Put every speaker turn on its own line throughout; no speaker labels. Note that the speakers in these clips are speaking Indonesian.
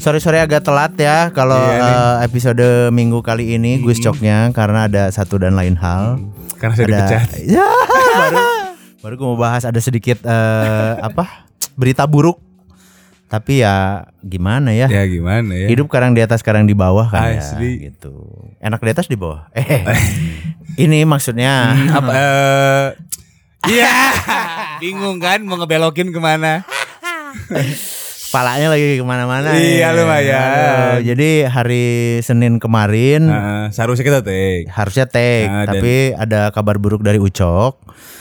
Sorry-sorry agak telat ya kalau
Iya nih. Iya.
eh, episode minggu kali ini Gus Coknya karena ada satu dan lain hal.
Karena saya dipecat.
Ya, baru baru gue mau bahas ada sedikit eh, apa? berita buruk. Tapi ya gimana ya?
Ya gimana ya?
Hidup kadang di atas, kadang di bawah kan ya,
Asli.
gitu. Enak di atas di bawah. Eh. ini maksudnya
Apa? eh, Iya. Bingung kan mau ngebelokin kemana?
palanya lagi kemana-mana.
Iya,
ya.
lumayan.
Aduh, jadi hari Senin kemarin
Nah, seharusnya kita take.
harusnya take,
Nah, dan-
tapi ada kabar buruk dari Ucok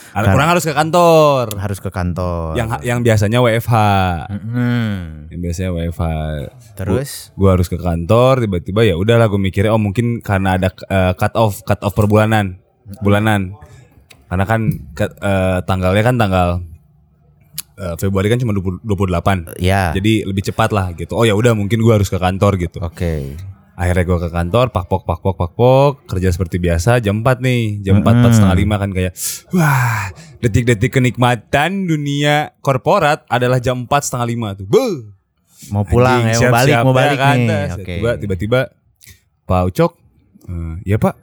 Ada kurang harus ke kantor.
harus ke kantor.
Yang yang biasanya WFH.
Hmm.
Yang biasanya WFH.
Terus
Gue harus ke kantor tiba-tiba ya udahlah gue mikirnya oh mungkin karena ada eh, cut off cut off per bulanan bulanan karena kan cut- eh, tanggalnya kan tanggal eh, Februari kan cuma 20 28
ya.
jadi lebih cepat lah gitu oh ya udah mungkin gue harus ke kantor gitu
Oke.
Akhirnya gue ke kantor, pakpok, pakpok, pakpok, kerja seperti biasa, jam 4 nih, jam 4, 4 setengah 5 kan kayak, wah, detik-detik kenikmatan dunia korporat adalah jam 4 setengah 5 tuh. Beuh.
Mau pulang ya, mau balik,
Anjing, siap-siap
mau
ya
balik
ke
nih.
atas.
Oke.
Tiba- Tiba-tiba, Pak Ucok, "Eh, ya Pak,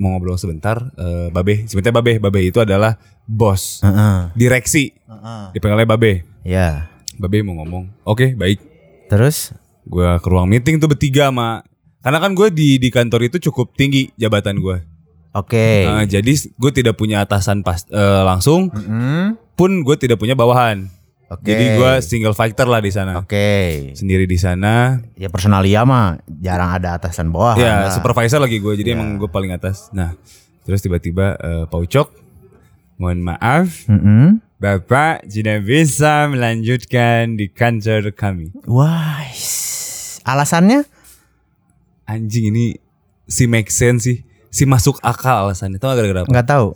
mau ngobrol sebentar, Eh, Babe, sebentar Babe, Babe itu adalah bos,
Heeh.
direksi,
Heeh.
dipegang oleh Babe.
Ya.
Babe mau ngomong, oke baik,
Terus
gue ke ruang meeting tuh bertiga sama karena kan gue di di kantor itu cukup tinggi jabatan gue
oke.
Nah, jadi gue tidak punya atasan pas eh, langsung
Mm-mm.
pun gue tidak punya bawahan
Oke.
jadi gue single fighter lah di sana
Oke.
sendiri di sana
Ya personalia mah jarang ada atasan bawah.
ya supervisor lagi gue
Ya.
jadi emang gue paling atas nah terus tiba-tiba eh, Pak Ucok mohon maaf bapak tidak bisa melanjutkan di kantor kami
Wah. Alasannya?
anjing ini si make sense sih si masuk akal alasannya itu gara-gara apa
Nggak tahu.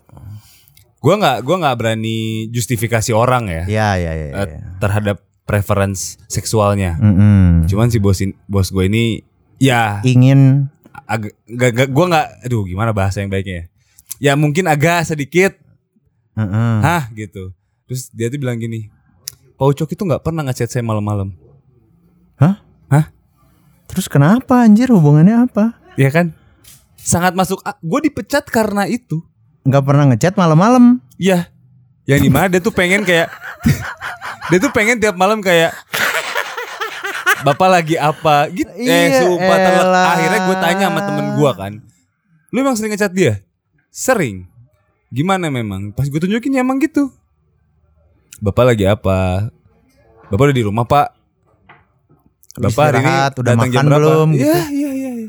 Gua nggak gua nggak berani justifikasi orang ya
Ya, ya, ya. ya.
eh, terhadap
Hmm.
preference seksualnya.
Mm-mm.
Cuman si bos in- bos gue ini ya
Iya. Ingin
agak gak, gak, gua nggak aduh gimana bahasa yang baiknya ya. Ya mungkin agak sedikit
Mm-mm.
hah gitu. Terus dia tuh bilang gini, Pak Ucok itu nggak pernah ngechat saya malam-malam.
Hah?
Hah?
Terus kenapa anjir hubungannya apa?
Ya kan? Sangat masuk gue dipecat karena itu.
Nggak pernah ngechat malam-malam.
Iya. Yang dimana dia tuh pengen kayak dia tuh pengen tiap malam kayak Bapak lagi apa gitu. eh
Iya,
sumpah terlek.
elah.
akhirnya gue tanya sama temen gue kan. Lu emang sering ngechat dia? Sering. Gimana memang? Pas gue tunjukin ya emang gitu. Bapak lagi apa? Bapak udah di rumah pak. Bapak hari ini
Istirahat, udah
datang jam
makan
berapa?
belum, gitu.
Iya iya iya. iya.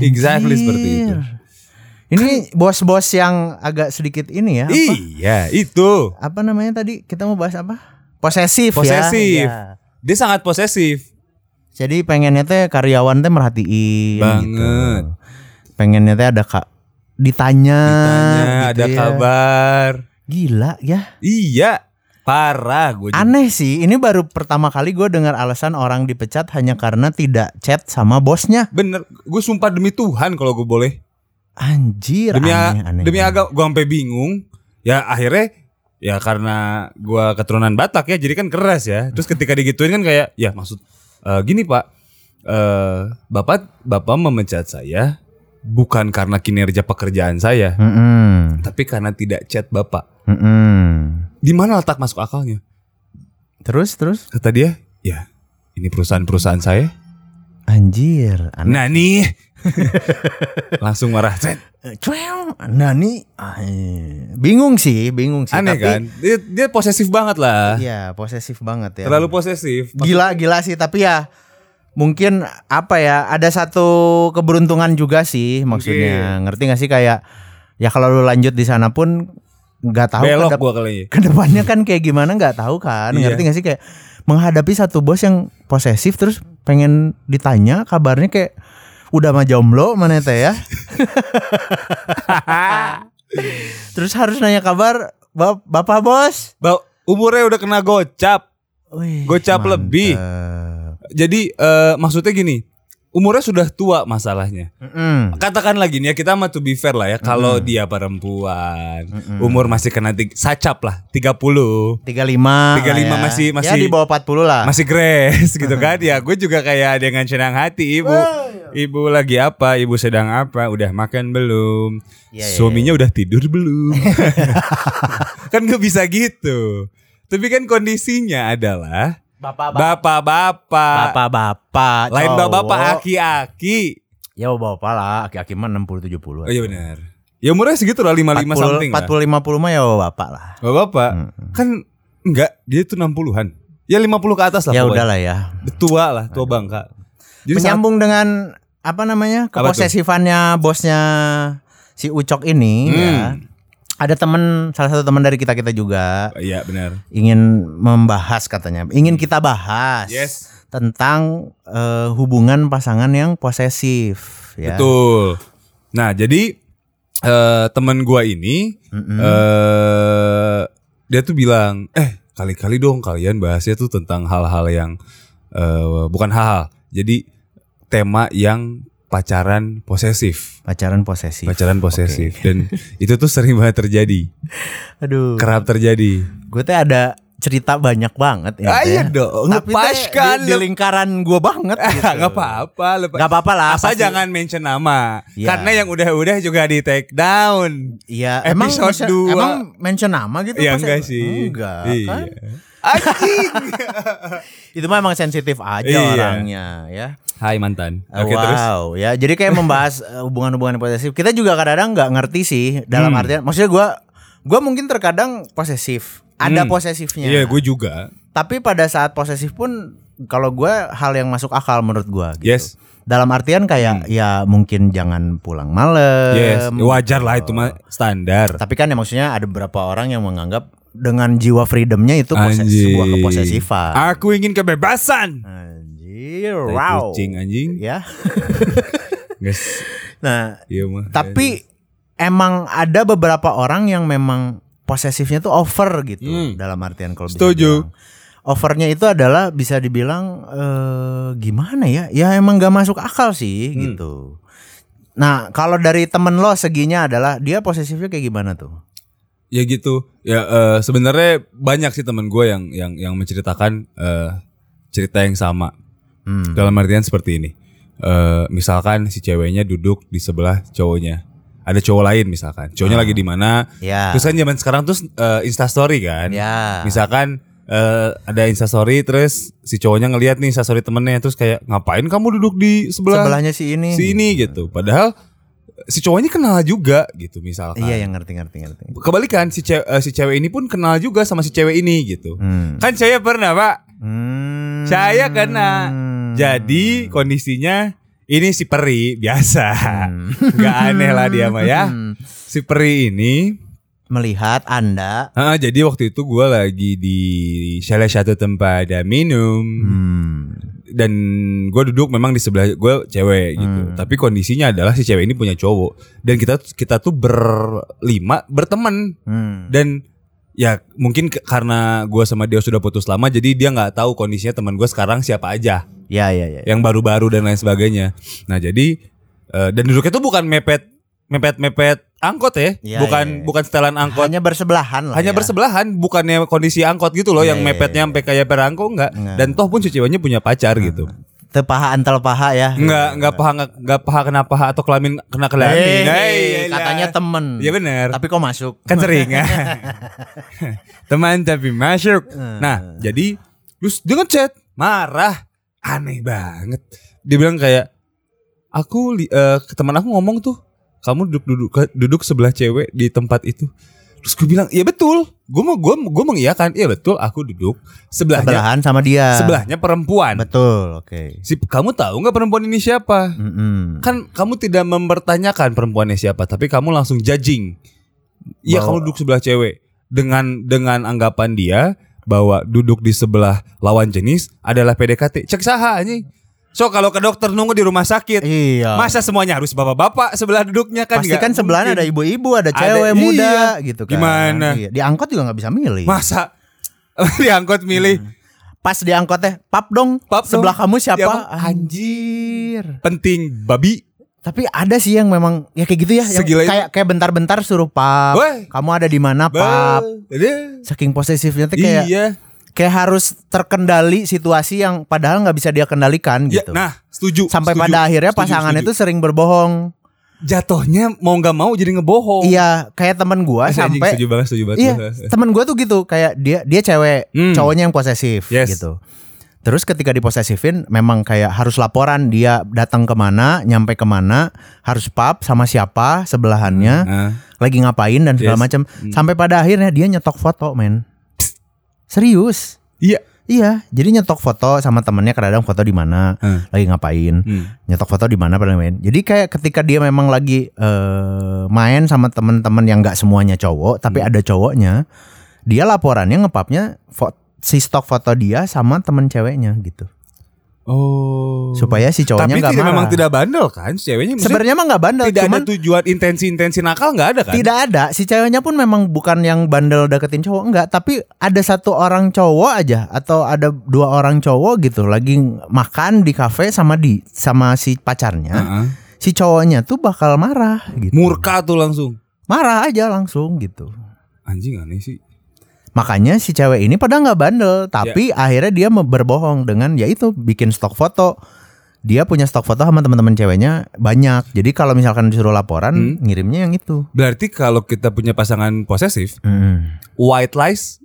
Exactly
Anjir.
seperti itu.
Ini bos-bos yang agak sedikit ini ya. Apa,
Iya itu.
apa namanya tadi? Kita mau bahas apa? Posesif,
Posesif.
ya. Iya.
Dia sangat posesif.
Jadi pengennya teh karyawan teh merhatiin
Banget.
gitu. Pengennya teh ada kak ditanya,
Tanya,
gitu
ada
ya.
kabar.
Gila ya.
Iya, parah gue.
Aneh sih, ini baru pertama kali gue dengar alasan orang dipecat hanya karena tidak chat sama bosnya.
Bener, gue sumpah demi Tuhan kalau gue boleh.
Anjir,
Demi a-
aneh, aneh.
demi agak gue sampai bingung. Ya akhirnya ya karena gue keturunan Batak ya, jadi kan keras ya. Terus ketika digituin kan kayak, ya maksud eh, gini Pak, eh bapak bapak memecat saya bukan karena kinerja pekerjaan saya,
Mm-mm,
tapi karena tidak chat bapak.
mm-mm.
Di mana letak masuk akalnya?
Terus terus,
Kata dia, ya ini perusahaan-perusahaan saya.
anjir, aneh.
Nah nih Langsung marah Cet.
Eh, cuew, Nah, nih, ay, bingung sih, bingung sih.
Aneh
Tapi,
kan dia, dia posesif banget lah
Iya, posesif banget ya.
Terlalu posesif
gila gila sih tapi ya mungkin apa ya ada satu keberuntungan juga sih maksudnya ngerti gak sih kayak ya kalau lu lanjut di sana pun nggak tahu kan
Belok
kedep-
gua kali ini
kedepannya kan kayak gimana nggak tahu kan
Iya.
ngerti gak sih kayak menghadapi satu bos yang posesif terus pengen ditanya kabarnya kayak udah mah jomblo mana teh ya terus harus nanya kabar "Bap- bapak bos
Ba- Umurnya udah kena gocap
Wih,
Gocap lebih. Jadi eh, maksudnya gini umurnya sudah tua masalahnya.
Mm-mm.
Katakan lagi nih ya kita mah to be fair lah ya kalau dia perempuan umur masih kena tig- sacap lah
35
30
lah
35
ya.
masih-
ya
masih-
di bawah 40 lah
masih grace gitu kan ya gue juga kayak dengan senang hati ibu
iya.
ibu lagi apa ibu sedang apa udah makan belum
Iya, iya,
suaminya udah tidur belum kan gak bisa gitu tapi kan kondisinya adalah
bapak-bapak
bapak-bapak
bapak-bapak
lain
cowok.
bapak-bapak aki-aki
ya bapak lah aki-aki mah 60 70
Oh iya benar. Ya umurnya segitu lah 55 something
40 40 50
lah.
mah ya bapak lah
Bapak, bapak
Hmm.
kan enggak dia itu 60-an. Ya 50 ke atas lah
ya
pokoknya.
udahlah ya
Tua lah, tua bangka. Jadi sangat-
menyambung dengan apa namanya
Apa tuh?
keposesifannya bosnya si Ucok ini
Hmm.
ya. Ada teman salah satu teman dari kita kita juga
Iya benar.
ingin membahas katanya, ingin kita bahas
Yes.
tentang eh, hubungan pasangan yang posesif. Ya.
Betul. Nah, jadi eh teman gua ini
Mm-mm.
eh dia tuh bilang, "Eh, kali-kali dong kalian bahasnya tuh tentang hal-hal yang eh bukan hal-hal. Jadi tema yang pacaran posesif."
Pacaran posesif.
Pacaran posesif dan itu tuh sering banget terjadi,
Aduh,
kerap terjadi.
gue teh ada cerita banyak banget ya. teh.
Ayo dong,
Tapi teh
lepaskan,
di, di lingkaran gue banget. gitu.
Gak apa-apa, lepas.
Gak apa-apa lah.
Asal
pasti-
jangan mention nama,
Iya.
karena yang udah-udah juga di take down.
Iya,
Episode
mention-
dua.
Emang mention nama gitu?
Ya
pas-
enggak sih.
Enggak
Iya.
kan?
Anjing.
Itu mah emang sensitif aja
Iya.
orangnya ya.
Hai mantan.
Wow,
Oke terus.
ya. Jadi kayak membahas eh, hubungan-hubungan yang posesif. Kita juga kadang-kadang nggak ngerti sih dalam
Hmm.
artian maksudnya gua gua mungkin terkadang posesif. Ada
Hmm.
posesifnya.
Iya, gue juga.
Tapi pada saat posesif pun kalau gua hal yang masuk akal menurut gua gitu.
Yes. Hmm.
Dalam artian kayak ya mungkin jangan pulang malam.
Yes, ya wajar lah itu mah standar.
Tapi kan ya maksudnya ada beberapa orang yang menganggap dengan jiwa freedomnya itu poses, sebuah
Anjing.
keposesifan.
Aku ingin kebebasan.
Anjir,
Ah. Tai
wow.
Kucing anjing.
Ya.
Guys,
Nah,
iya mah.
tapi emang ada beberapa orang yang memang posesifnya tuh over gitu
Hmm.
dalam artian kalau bisa
Setuju.
dibilang. Overnya itu adalah bisa dibilang eh, gimana ya? Ya emang gak masuk akal
Hmm.
sih gitu. Nah, kalau dari temen lo seginya adalah dia posesifnya kayak gimana tuh?
ya gitu ya eh, sebenarnya banyak sih teman gue yang yang yang menceritakan eh, cerita yang sama
Hmm.
dalam artian seperti ini Eh, misalkan si ceweknya duduk di sebelah cowoknya ada cowok lain misalkan cowoknya lagi di mana
Ah. Ya.
terus kan zaman sekarang terus eh, instastory kan
Ya.
misalkan eh, ada instastory terus si cowoknya ngelihat nih instastory temennya terus kayak ngapain kamu duduk di sebelah,
sebelahnya si ini.
si ini gitu padahal si cowoknya kenal juga gitu misalkan
Iya yang ngerti ngerti ngerti.
kebalikan si cewek, si cewek ini pun kenal juga sama si cewek ini gitu.
Hmm.
Kan saya pernah, Pak.
Hmm.
Saya kena. Jadi kondisinya ini si Peri biasa. nggak aneh lah dia mah ya. Si Peri ini
melihat Anda
ah, jadi waktu itu gua lagi di salah satu tempat ada minum
hmm.
dan gua duduk memang di sebelah gua cewek gitu. Tapi kondisinya adalah si cewek ini punya cowok dan kita kita tuh berlima berteman
Hmm.
dan ya mungkin ke- karena gua sama dia sudah putus lama jadi dia nggak tahu kondisinya teman gue sekarang siapa aja
Ya ya ya.
yang baru-baru dan lain sebagainya nah jadi eh, dan duduknya tuh bukan mepet mepet mepet angkot ya,
Iya,
bukan
iya, iya.
bukan setelan angkot hanya,
Hanya bersebelahan lah. ya.
bersebelahan bukannya kondisi angkot gitu loh
Iya,
yang
iya,
mepetnya sampai kayak perangko enggak
Nggak.
dan toh pun si ceweknya punya pacar gitu
Tepaha antal paha ya.
Enggak, enggak paha enggak, enggak paha kena paha atau kelamin kena kelamin.
Hei,
Hei, iyalah.
katanya temen.
Nah, Iya benar.
Tapi kok masuk?
kan sering teman tapi masuk nah jadi terus dia ngechat marah aneh banget dia bilang kayak aku li- eh, ke teman aku ngomong tuh kamu duduk duduk duduk sebelah cewek di tempat itu terus gue bilang iya betul gue mau gue gue mengiyakan iya betul aku duduk sebelahnya
Sebelahan sama dia.
sebelahnya perempuan
Betul. Oke. Hmm.
si kamu tahu nggak perempuan ini siapa
Mm-mm.
kan kamu tidak mempertanyakan perempuannya siapa tapi kamu langsung judging Iya
Bahwa-
kamu duduk sebelah cewek dengan dengan anggapan dia bahwa duduk di sebelah lawan jenis adalah PDKT cek saha anjing so kalau ke dokter nunggu di rumah sakit
Iya.
masa semuanya harus bapak-bapak sebelah duduknya kan
Pasti
nggak
kan sebelahnya ada
mungkin.
ibu-ibu, ada
Ada-
cewek muda
iya.
gitu kan.
Gimana?
Iya. Di angkot juga nggak bisa milih.
masa diangkut milih
pas di angkotnya pap dong
Pap dong. Ya,
sebelah kamu siapa
Siapa?
anjir
Penting babi.
tapi ada sih yang memang ya kayak gitu ya yang
Segila itu.
kayak kayak bentar-bentar suruh pap
Weh.
kamu ada di mana pap
Iya.
saking posesifnya tuh kayak
Iya.
kayak harus terkendali situasi yang padahal nggak bisa dia kendalikan
Ya,
gitu
nah, setuju.
sampai
setuju,
pada akhirnya
setuju,
pasangan
setuju.
itu sering berbohong
jatuhnya mau nggak mau jadi ngebohong.
iya kayak temen gua
Asli, anjing,
sampai
Eh, setuju banget, setuju banget.
Iya, temen gue tuh gitu kayak dia dia cewek,
Hmm.
cowoknya yang posesif
Yes.
gitu. Terus ketika diposesifin, memang kayak harus laporan dia datang kemana, nyampe kemana, harus pap sama siapa sebelahannya,
Nah,
lagi ngapain dan segala
Yes. Hmm.
macam. Sampai pada akhirnya dia nyetok foto, men. Serius?
iya.
Iya, jadi nyetok foto sama temennya kadang foto di mana,
Hmm.
lagi ngapain,
Hmm.
nyetok foto di mana paling main. Jadi kayak ketika dia memang lagi eh, main sama temen-temen yang nggak semuanya cowok,
Hmm.
tapi ada cowoknya, dia laporannya ngepapnya fo- si stok foto dia sama temen ceweknya gitu,
Oh.
supaya si
Tapi
cowoknya nggak
tidak
marah.
memang tidak bandel kan si ceweknya maksudnya
Sebenarnya mah nggak bandel,
tidak
cuman
ada tujuan intensi-intensi nakal nggak ada kan?
tidak ada. Si ceweknya pun memang bukan yang bandel deketin cowok enggak, tapi ada satu orang cowok aja atau ada dua orang cowok gitu lagi makan di kafe sama di sama si pacarnya.
Heeh.
Si cowoknya tuh bakal marah gitu.
Murka tuh langsung.
marah aja langsung gitu.
Anjing aneh sih.
Makanya si cewek ini padahal nggak bandel, tapi
Ya.
akhirnya dia me- berbohong dengan yaitu bikin stok foto. Dia punya stok foto sama teman-teman ceweknya banyak. Jadi kalau misalkan disuruh laporan,
Hmm.
ngirimnya yang itu.
Berarti kalau kita punya pasangan posesif, white lies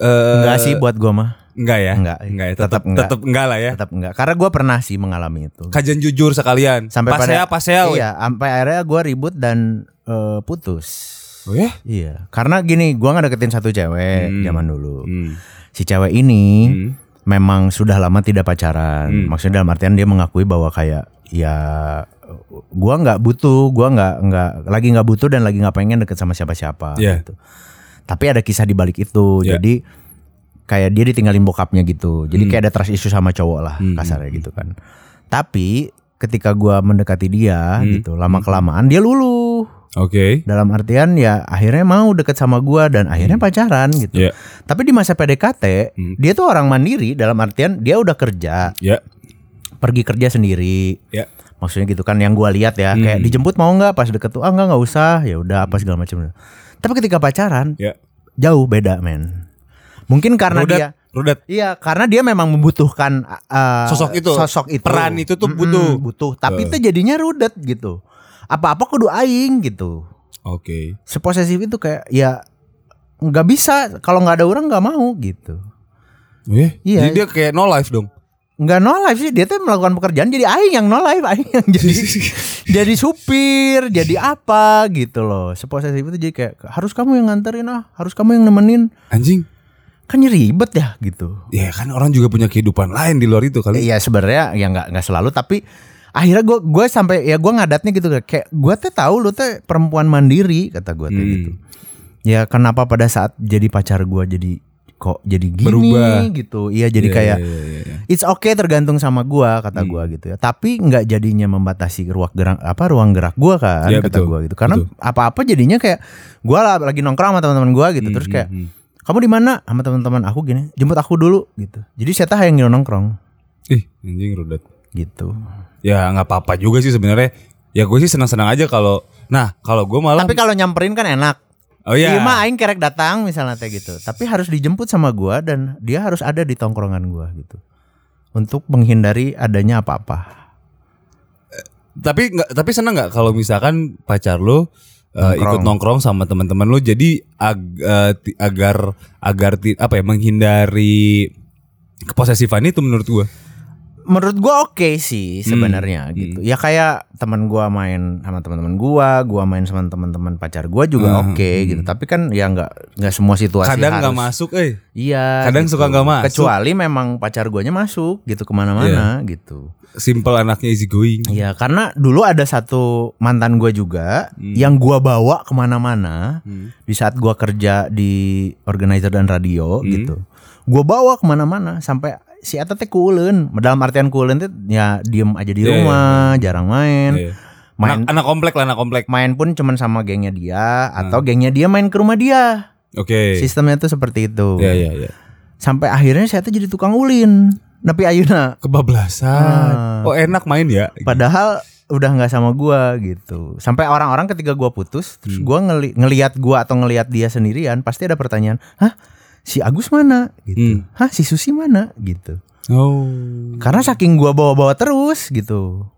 eh
Enggak sih buat gua mah.
Enggak ya?
Enggak.
Enggak ya.
Tetap
Tetap
enggak.
tetap enggak lah ya.
Tetap enggak. Karena gua pernah sih mengalami itu.
Kajian jujur sekalian.
Sampai
pasea
pada
pasea. ya, weh.
Iya, sampai akhirnya gua ribut dan eh, putus.
Oh ya?
Iya, karena gini, gua nggak deketin satu cewek
Hmm.
zaman dulu.
Hmm.
Si cewek ini
Hmm.
memang sudah lama tidak pacaran.
Hmm.
Maksudnya dalam artian dia mengakui bahwa kayak ya gua nggak butuh, gua nggak nggak lagi nggak butuh dan lagi nggak pengen deket sama siapa-siapa
Iya.
gitu. Tapi ada kisah di balik itu.
Iya.
Jadi kayak dia ditinggalin bokapnya gitu. Jadi
Hmm.
kayak ada trust issue sama cowok lah
Hmm.
kasarnya gitu kan. Tapi ketika gua mendekati dia
Hmm.
gitu, lama kelamaan dia luluh.
Oke.
Dalam artian ya akhirnya mau deket sama gua dan akhirnya pacaran gitu.
Iya.
Tapi di masa PDKT
Hmm.
dia tuh orang mandiri dalam artian dia udah kerja,
Ya.
pergi kerja sendiri.
Ya.
Maksudnya gitu kan yang gua lihat ya
Hmm.
kayak dijemput mau nggak pas deket tuh ah nggak nggak usah ya udah apa segala macam. Tapi ketika pacaran
Ya.
jauh beda men. Mungkin karena
Rudat,
dia
rudat.
Iya, karena dia memang membutuhkan uh,
Sosok itu.
sosok itu,
Peran itu tuh
Mm-mm,
butuh.
butuh. Tapi
Eh.
itu jadinya rudet gitu. Apa-apa kudu aing gitu.
Oke.
Seposesif itu kayak ya nggak bisa kalau nggak ada orang nggak mau gitu.
Oh ya?
Iya.
Jadi dia kayak no life dong.
Nggak no life sih dia tuh melakukan pekerjaan jadi aing yang no life, aing yang jadi jadi supir, jadi apa gitu loh. Seposesif itu jadi kayak harus kamu yang nganterin ah, harus kamu yang nemenin.
Anjing.
Kan jadi ribet ya gitu.
Ya kan orang juga punya kehidupan lain di luar itu kali.
Iya sebenarnya ya nggak nggak selalu tapi akhirnya gue gue sampai ya gue ngadatnya gitu kayak gue tuh tahu lu tuh perempuan mandiri kata gue tuh
Hmm.
gitu. Ya kenapa pada saat jadi pacar gue jadi kok jadi gini
Berubah.
gitu. Iya jadi
Iya,
kayak
iya, iya, iya.
it's okay tergantung sama gue kata
Hmm.
gue gitu ya. Tapi nggak jadinya membatasi ruang gerak apa ruang gerak gue kan
Iya,
kata
betul.
gue gitu. Karena apa-apa jadinya kayak gue lagi nongkrong sama teman-teman gue gitu terus
Hmm,
kayak
hmm, hmm.
kamu di mana sama teman-teman aku gini jemput aku dulu gitu. Jadi saya tahu yang nongkrong
hmm. ih anjing rudat.
gitu.
Ya nggak apa-apa juga sih sebenarnya. Ya gue sih senang-senang aja kalau. Nah kalau gue malah.
Tapi kalau nyamperin kan enak.
oh iya.
Iya mah aing kerek datang misalnya teh gitu. Tapi harus dijemput sama gua dan dia harus ada di tongkrongan gua gitu. Untuk menghindari adanya apa-apa.
Tapi nggak. Tapi senang nggak kalau misalkan pacar lo eh, ikut nongkrong sama teman-teman lo. Jadi ag- eh, ti- agar agar ti- apa ya menghindari keposesifan itu menurut gue.
Menurut gua oke sih
Hmm.
sebenarnya gitu. Ya kayak teman gua main sama teman-teman gua, gua main sama teman-teman pacar gua juga oke gitu. Tapi kan ya nggak nggak semua situasi
Hmm. Kadang nggak
harus.
masuk. Eh.
Iya.
Kadang suka nggak masuk.
Kecuali memang pacar guanya masuk gitu
Iya.
kemana-mana gitu.
Simple anaknya easy going.
Iya karena dulu ada satu mantan gue juga
Hmm.
yang gue bawa kemana-mana di saat gue kerja di organizer dan radio
Hmm.
gitu. Gue bawa kemana-mana sampai si Eta teh kulen. Dalam artian kulen tuh ya diem aja di
Iya, iya,
rumah, jarang main.
Iya.
Main
Anak, anak komplek lah anak komplek.
main pun cuman sama gengnya
Hmm.
dia atau gengnya dia main ke rumah dia.
Oke.
Sistemnya tuh seperti itu.
Iya iya iya.
sampai akhirnya saya tuh jadi tukang ulin tapi ayuna Ah.
Kebablasan. Oh enak main ya.
padahal udah nggak sama gua gitu sampai orang-orang ketika gua putus terus
Hmm.
gua ngeli ngelihat gua atau ngelihat dia sendirian pasti ada pertanyaan hah si Agus mana gitu
Hmm.
hah si Susi mana gitu
Oh.
karena saking gua bawa-bawa terus gitu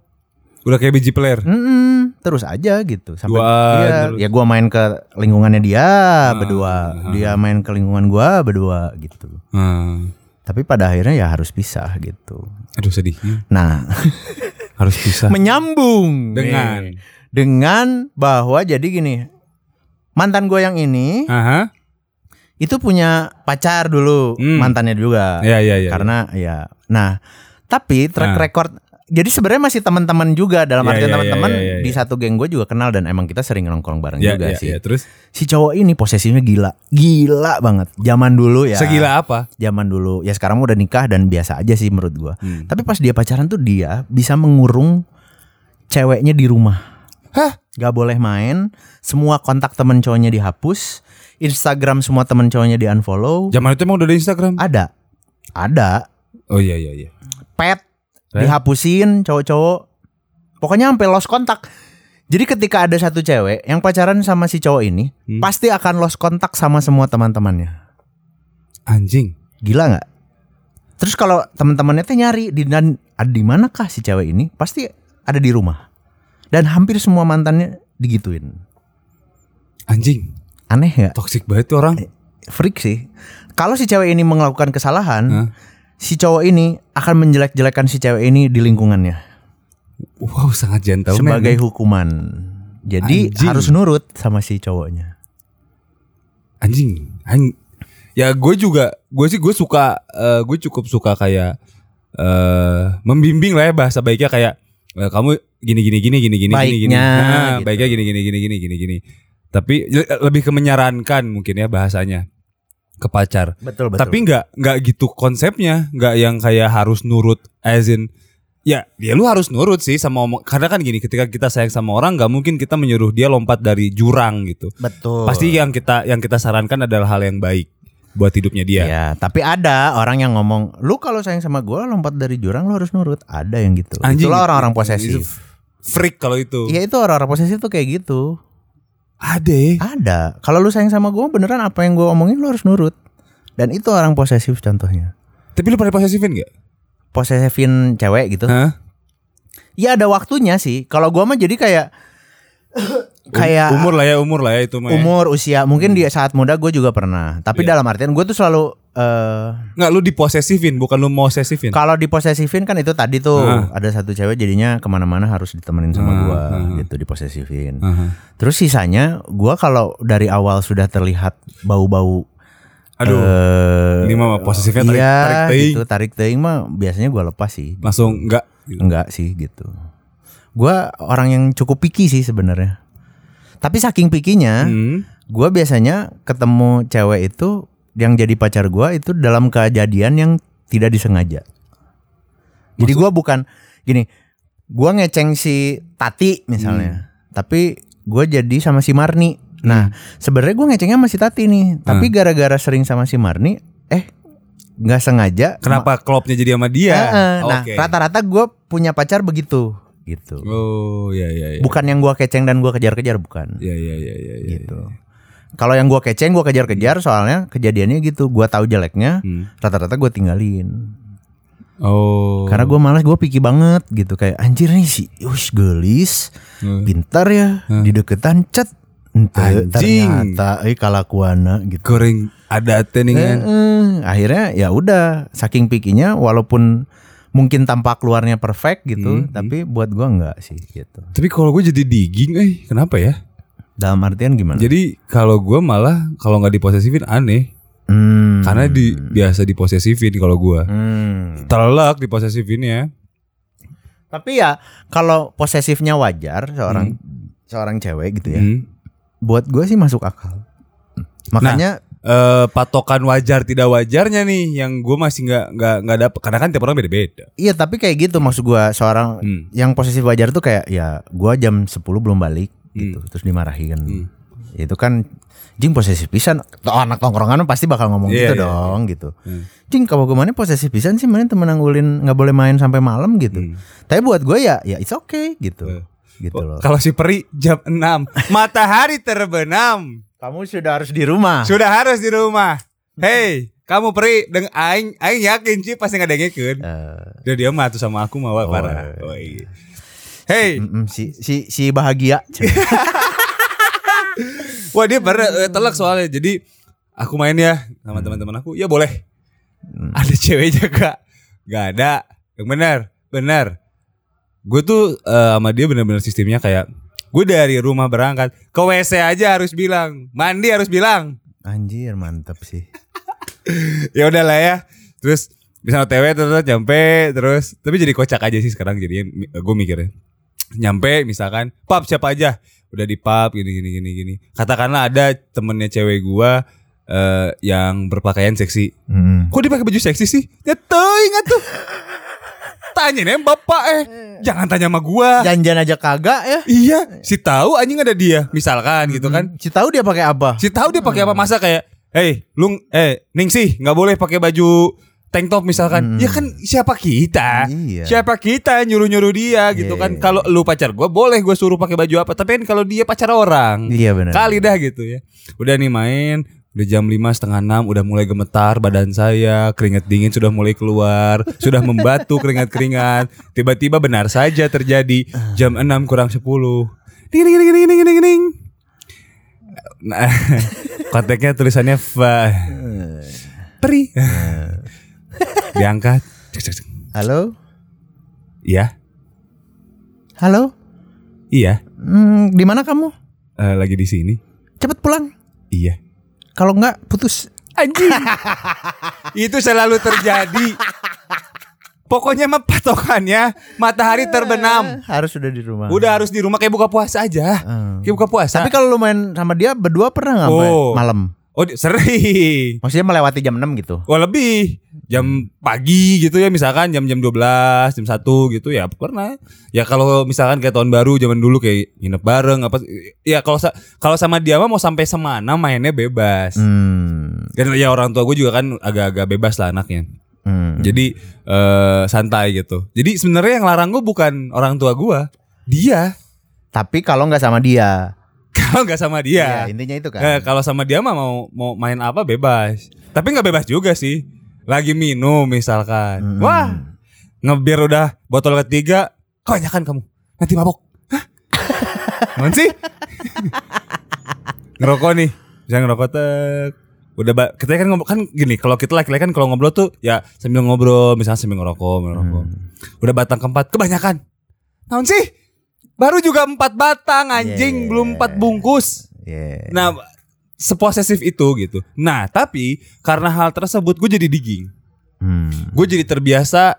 Udah kayak biji player.
Mm-mm, terus aja gitu sampai
Duaan
iya,
terus.
ya gua main ke lingkungannya dia
Ah,
berdua dia main ke lingkungan gua berdua gitu
Hmm.
tapi pada akhirnya ya harus pisah gitu
Aduh sedihnya.
nah
Harus pisah.
menyambung
Dengan.
nih. dengan bahwa jadi gini mantan gue yang ini
Aha.
itu punya pacar dulu
Hmm.
mantannya juga
Ya ya ya.
karena ya nah tapi track
Nah.
record jadi sebenarnya masih teman-teman juga dalam
Ya,
artian
ya, ya,
teman-teman
ya, ya,
di satu geng gue juga kenal dan emang kita sering nongkrong bareng
ya,
juga
ya,
sih
ya. Terus
si cowok ini posesifnya gila gila banget zaman dulu ya
segila apa?
zaman dulu ya sekarang udah nikah dan biasa aja sih menurut gua
Hmm.
tapi pas dia pacaran tuh dia bisa mengurung ceweknya di rumah
Hah?
Gak boleh main semua kontak temen cowoknya dihapus Instagram semua temen cowoknya di unfollow
Zaman itu emang udah ada Instagram.
ada ada
Oh iya iya iya.
pet
Pet?
dihapusin cowok-cowok pokoknya sampai lost kontak jadi ketika ada satu cewek yang pacaran sama si cowok ini
Hmm.
pasti akan lost kontak sama semua teman-temannya
Anjing.
gila nggak terus kalau teman-temannya teh nyari di dan ada di manakah si cewek ini pasti ada di rumah dan hampir semua mantannya digituin
Anjing.
aneh nggak
Toxic banget tuh orang.
freak sih kalau si cewek ini melakukan kesalahan
Hah?
si cowok ini akan menjelek-jelekan si cewek ini di lingkungannya
Wow, sangat gentle
sebagai hukuman. Jadi
Anjing.
harus nurut sama si cowoknya.
anjing anjing ya gue juga gue sih gue suka eh, gue cukup suka kayak eh membimbing lah ya bahasa baiknya kayak eh, kamu gini gini gini gini gini gini gini
Baiknya,
Nah,
gitu.
baiknya gini gini gini gini gini gini tapi le- lebih ke menyarankan mungkin ya bahasanya ke pacar
Betul
tapi nggak nggak gitu konsepnya nggak yang kayak harus nurut as in ya ya lu harus nurut sih sama omong karena kan gini ketika kita sayang sama orang nggak mungkin kita menyuruh dia lompat dari jurang gitu
betul.
Pasti yang kita yang kita sarankan adalah hal yang baik buat hidupnya dia.
Ya, tapi ada orang yang ngomong, "Lu kalau sayang sama gue lompat dari jurang lu harus nurut." Ada yang gitu.
Anjing.
Itulah orang-orang
Itu
posesif.
Freak kalau itu.
Iya, itu orang-orang posesif tuh kayak gitu.
Ade.
Ada. Kalau lu sayang sama gue beneran apa yang gue omongin lu harus nurut. Dan itu orang posesif contohnya.
Tapi lu pernah posesifin gak?
Posesifin cewek gitu.
Hah?
Ya ada waktunya sih. Kalau gua mah jadi kayak
Um-
kayak
umur lah ya, umur lah ya itu mah. ya.
umur usia mungkin di saat muda gue juga pernah tapi
Iya.
dalam artian gue tuh selalu eh
Nggak lu diposesifin, bukan lu mau sesifin.
kalau diposesifin kan itu tadi tuh
Ah.
ada satu cewek jadinya kemana-mana harus ditemenin sama
Ah,
gua
ah, ah.
gitu diposesifin
Aha.
terus sisanya gua kalau dari awal sudah terlihat bau-bau
Aduh,
eh,
ini mah posesifnya tarik,
iya,
tarik teing.
gitu tarik teing mah biasanya gua lepas sih
Langsung nggak.
enggak sih gitu gua orang yang cukup picky sih sebenarnya tapi saking pikinya
Hmm.
Gua biasanya ketemu cewek itu yang jadi pacar gua itu dalam kejadian yang tidak disengaja. Jadi gua bukan gini, gua ngeceng si Tati
Hmm.
misalnya, tapi gua jadi sama si Marni. Nah, sebenarnya gua ngecengnya sama si Tati nih,
Hmm.
tapi gara-gara sering sama si Marni, eh nggak sengaja.
Kenapa klopnya jadi sama dia?
Eh, eh, Nah,
Oke.
rata-rata gua punya pacar begitu, gitu.
Oh, ya ya ya.
Bukan yang gua keceng dan gua kejar-kejar, bukan
Ya ya ya ya. ya.
gitu. Kalau yang gua keceng gua kejar-kejar soalnya kejadiannya gitu. Gua tahu jeleknya,
Hmm.
rata-rata gua tinggalin.
Oh.
Karena gua malas, gua pikir banget gitu kayak anjir nih si ush gelis,
Hmm.
pintar ya, dideketan cet. Ente,
Anjing.
ternyata eh kalakuana gitu.
goreng
Eh,
ada teningan.
eh, akhirnya ya udah saking pikinya walaupun mungkin tampak luarnya perfect gitu,
Hmm,
tapi buat gua enggak sih gitu.
Tapi kalau gue jadi digging, eh kenapa ya?
Dalam artian gimana?
Jadi kalau gue malah kalau nggak diposesifin aneh,
Hmm,
karena di biasa diposesifin kalau gue.
hmm.
Telak diposesifin ya.
Tapi ya kalau posesifnya wajar seorang seorang cewek gitu ya.
Hmm.
Buat gue sih masuk akal. Makanya
Eh, patokan wajar tidak wajarnya nih yang gue masih nggak nggak nggak dapet karena kan tiap orang beda-beda.
iya tapi kayak gitu maksud gue seorang
Hmm.
yang posesif wajar tuh kayak ya gue jam 10 belum balik gitu terus dimarahin.
Hmm.
Itu kan Jing posesif pisan. Tuh, anak tongkrongan pasti bakal ngomong
Iya,
gitu
iya,
dong gitu. Jing kalau gue posesif pisan sih mending temen anggulin nggak boleh main sampai malam gitu.
Hmm.
Tapi buat gue ya ya it's okay
Iya.
gitu. Gitu loh.
Kalau si Peri jam 6 matahari terbenam.
Kamu sudah harus di rumah.
Sudah harus di rumah. Hey, kamu Peri deng aing aing yakin sih pasti
Eh, Oh,
ngadengkeun.
iya.
Dia dia mah tuh sama aku mah wah, parah. Woi. Hey,
mm, si si si bahagia.
wah dia pernah eh, telak soalnya. Jadi aku main ya sama teman-teman aku. Ya boleh. Ada ceweknya kak? Gak ada. Yang benar, benar. Gue tuh eh, sama dia benar-benar sistemnya kayak gue dari rumah berangkat ke WC aja harus bilang, mandi harus bilang.
Anjir mantep sih.
ya udahlah ya terus bisa otw terus nyampe terus tapi jadi kocak aja sih sekarang jadinya gue mikirnya nyampe misalkan pub siapa aja udah di pub gini gini gini gini katakanlah ada temennya cewek gua eh, yang berpakaian seksi
Mm.
kok dia pakai baju seksi sih ya tuh ingat tuh tanya nih bapak eh jangan tanya sama gua
Janjian aja kagak ya.
iya si tahu anjing ada dia misalkan gitu kan
Si tahu dia pakai apa?
Si tahu dia pakai apa
Hmm.
masa kayak, "Hey, lu eh Ningsih nggak boleh pakai baju tank top misalkan." Ya kan siapa kita?
Hmm. Iya.
Siapa kita yang nyuruh-nyuruh dia
Iya,
gitu kan.
iya,
Kalau lu pacar gua boleh gua suruh pakai baju apa, tapi kan kalau dia pacar orang.
Iya benar.
Kali dah gitu ya. Udah nih main Udah jam lima setengah enam udah mulai gemetar badan saya keringat dingin sudah mulai keluar sudah membatu keringat keringat tiba-tiba benar saja terjadi jam enam kurang sepuluh ding ding ding ding ding ding ding nah, kontaknya tulisannya fa peri diangkat Cek, cek, cek.
Halo?
iya
Halo?
iya
Hmm, di mana kamu?
Eh, lagi di sini
Cepet pulang.
iya
Kalau enggak putus.
Anjing. itu selalu terjadi. Pokoknya mah patokannya matahari terbenam.
Harus sudah di rumah.
Udah harus di rumah kayak buka puasa aja.
Hmm.
Kayak buka puasa.
Tapi kalau lu main sama dia berdua pernah nggak main
Oh.
malam?
oh, di- sering.
Maksudnya melewati jam 6 gitu.
Wah lebih jam pagi gitu ya misalkan jam jam 12, jam 1 gitu ya pernah. Ya kalau misalkan kayak tahun baru zaman dulu kayak nginep bareng apa ya kalau sa- kalau sama dia mah mau sampai semana mainnya bebas.
Hmm.
Dan ya orang tua gue juga kan agak-agak bebas lah anaknya.
Hmm.
Jadi eh santai gitu. Jadi sebenarnya yang larang gue bukan orang tua gue, dia.
Tapi kalau nggak sama dia.
Kalau nggak sama dia,
Iya, intinya itu kan.
Eh, kalau sama dia mah mau mau main apa bebas. Tapi nggak bebas juga sih. Lagi minum misalkan, wah ngebir udah botol ketiga, kebanyakan kamu nanti mabok. Hah? Apaan sih? ngerokok nih, bisa ngerokok tek. Udah ba- kita kan ngobrol kan gini, kalau kita laki-laki kan kalau ngobrol tuh ya sambil ngobrol, misalnya sambil ngerokok, ngerokok.
Mm.
Udah batang keempat, kebanyakan. Naon sih? Baru juga empat batang
Yeah.
anjing, belum empat bungkus.
Yeah.
Nah, seposesif itu gitu. Nah, tapi karena hal tersebut gue jadi digging.
Hmm.
Gue jadi terbiasa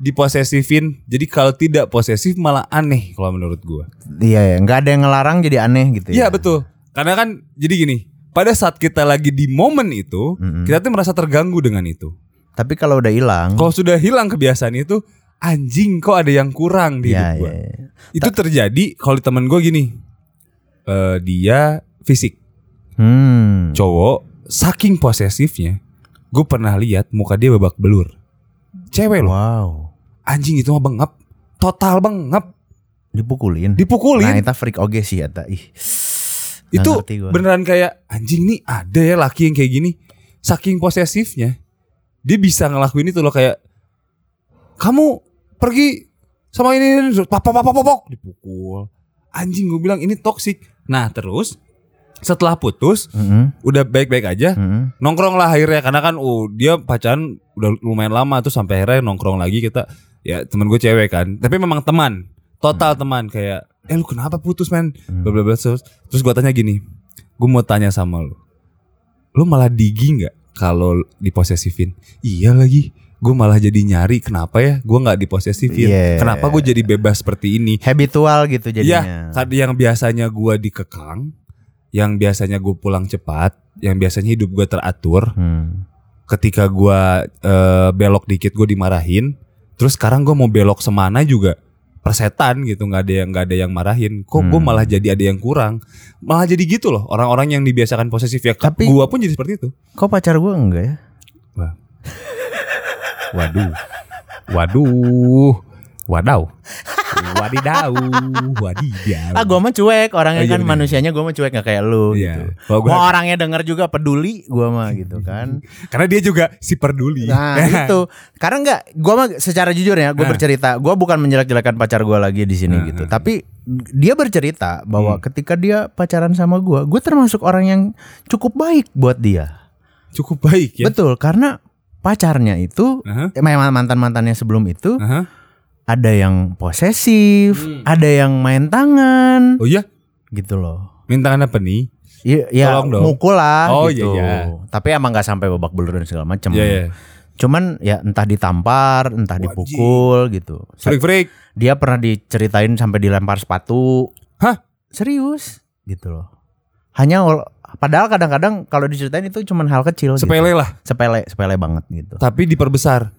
diposesifin. Jadi kalau tidak posesif malah aneh kalau menurut gue.
Iya, ya. nggak ada yang ngelarang jadi aneh gitu ya.
Iya betul. Karena kan jadi gini. Pada saat kita lagi di momen itu, kita tuh merasa terganggu dengan itu.
Tapi kalau udah hilang,
Kalau sudah hilang kebiasaan itu, anjing kok ada yang kurang di hidup
ya,
gue.
ya, ya.
Itu terjadi kalau di teman gue gini. Eh, dia fisik.
Hmm.
cowok saking posesifnya gue pernah lihat muka dia babak belur cewek loh
Wow.
anjing itu mah bengap total bengap
Dipukulin. Nah,
dipukulin
itu freak oge sih ya, ih. Nggak
itu
ngerti gua.
beneran kayak anjing nih ada ya laki yang kayak gini saking posesifnya dia bisa ngelakuin itu loh kayak kamu pergi sama ini, ini, ini, papa papa papa dipukul anjing gue bilang ini toksik nah terus setelah putus
Mm-mm.
udah baik-baik aja
Mm-mm.
nongkrong lah akhirnya karena kan uh dia pacaran udah lumayan lama tuh sampai akhirnya nongkrong lagi kita ya temen gue cewek kan tapi memang teman
Hmm.
total teman kayak eh lu kenapa putus men bla bla bla terus terus gue tanya gini gue mau tanya sama lu lu malah digi nggak kalau diposesifin iya lagi gue malah jadi nyari kenapa ya gue nggak diposesifin
Iya.
kenapa gue jadi bebas seperti ini
Habitual gitu
Iya,
jadinya.
tadi yang biasanya gua dikekang, yang biasanya gue pulang cepat, yang biasanya hidup gue teratur.
Hmm.
Ketika gua eh, belok dikit gue dimarahin. Terus sekarang gue mau belok semana juga persetan gitu nggak ada yang nggak ada yang marahin kok gue
Hmm.
malah jadi ada yang kurang malah jadi gitu loh orang-orang yang dibiasakan posesif ya
Tapi-
tapi gue pun jadi seperti itu
Kok pacar gue enggak ya?
Wah. Waduh. Waduh. Wadaw. Wadidau. Wadidaw.
Ah gue mah cuek orangnya
Oh, iya
kan
bener.
manusianya gue mah cuek nggak kayak lu
Iya.
gitu.
Kalau gua-
Mau orangnya denger juga peduli gue mah gitu kan.
Karena dia juga si peduli.
Nah itu karena nggak gue mah secara jujur ya gue
Nah.
bercerita gue bukan menjelek-jelekan pacar gue lagi di sini
Nah,
gitu.
nah.
Tapi dia bercerita bahwa ketika dia pacaran sama gue, gue termasuk orang yang cukup baik buat dia.
Cukup baik ya.
Betul karena pacarnya itu
Aha,
eh, memang mantan mantannya sebelum itu
aha.
ada yang posesif,
Nah. Hmm.
ada yang main tangan
Oh iya,
gitu loh.
minta apa nih?
Iya, ya,
Tolong dong.
mukul lah
Oh,
gitu.
iya,
Tapi emang nggak sampai babak belur dan segala macam.
Iya, iya.
Cuman ya entah ditampar, entah
Wajib.
dipukul gitu. Sa-
Freak freak.
Dia pernah diceritain sampai dilempar sepatu.
Hah?
Serius? Gitu loh. Hanya ol- padahal kadang-kadang kalau diceritain itu cuman hal kecil gitu.
Sepele lah,
Sepele, sepele banget gitu.
tapi diperbesar.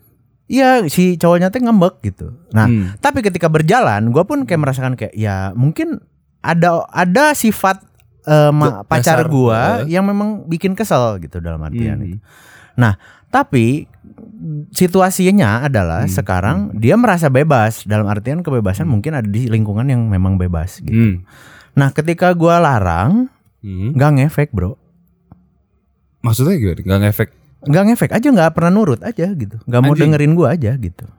Iya, si cowoknya tuh ngambek gitu. Nah,
Hmm.
tapi ketika berjalan gue pun kayak merasakan kayak ya mungkin ada ada sifat eh, ma-
Dasar,
pacar gua
eh.
yang memang bikin kesel gitu dalam artian
Hmm.
itu. Tapi situasinya adalah
Hmm,
sekarang dia merasa bebas dalam artian kebebasan mungkin ada di lingkungan yang memang bebas gitu.
Hmm.
Nah, ketika gua larang
Hmm.
nggak ngefek, Bro.
Maksudnya gimana? Gak ngefek.
nggak ngefek aja nggak pernah nurut aja gitu. nggak mau
Anjing.
dengerin gua aja gitu.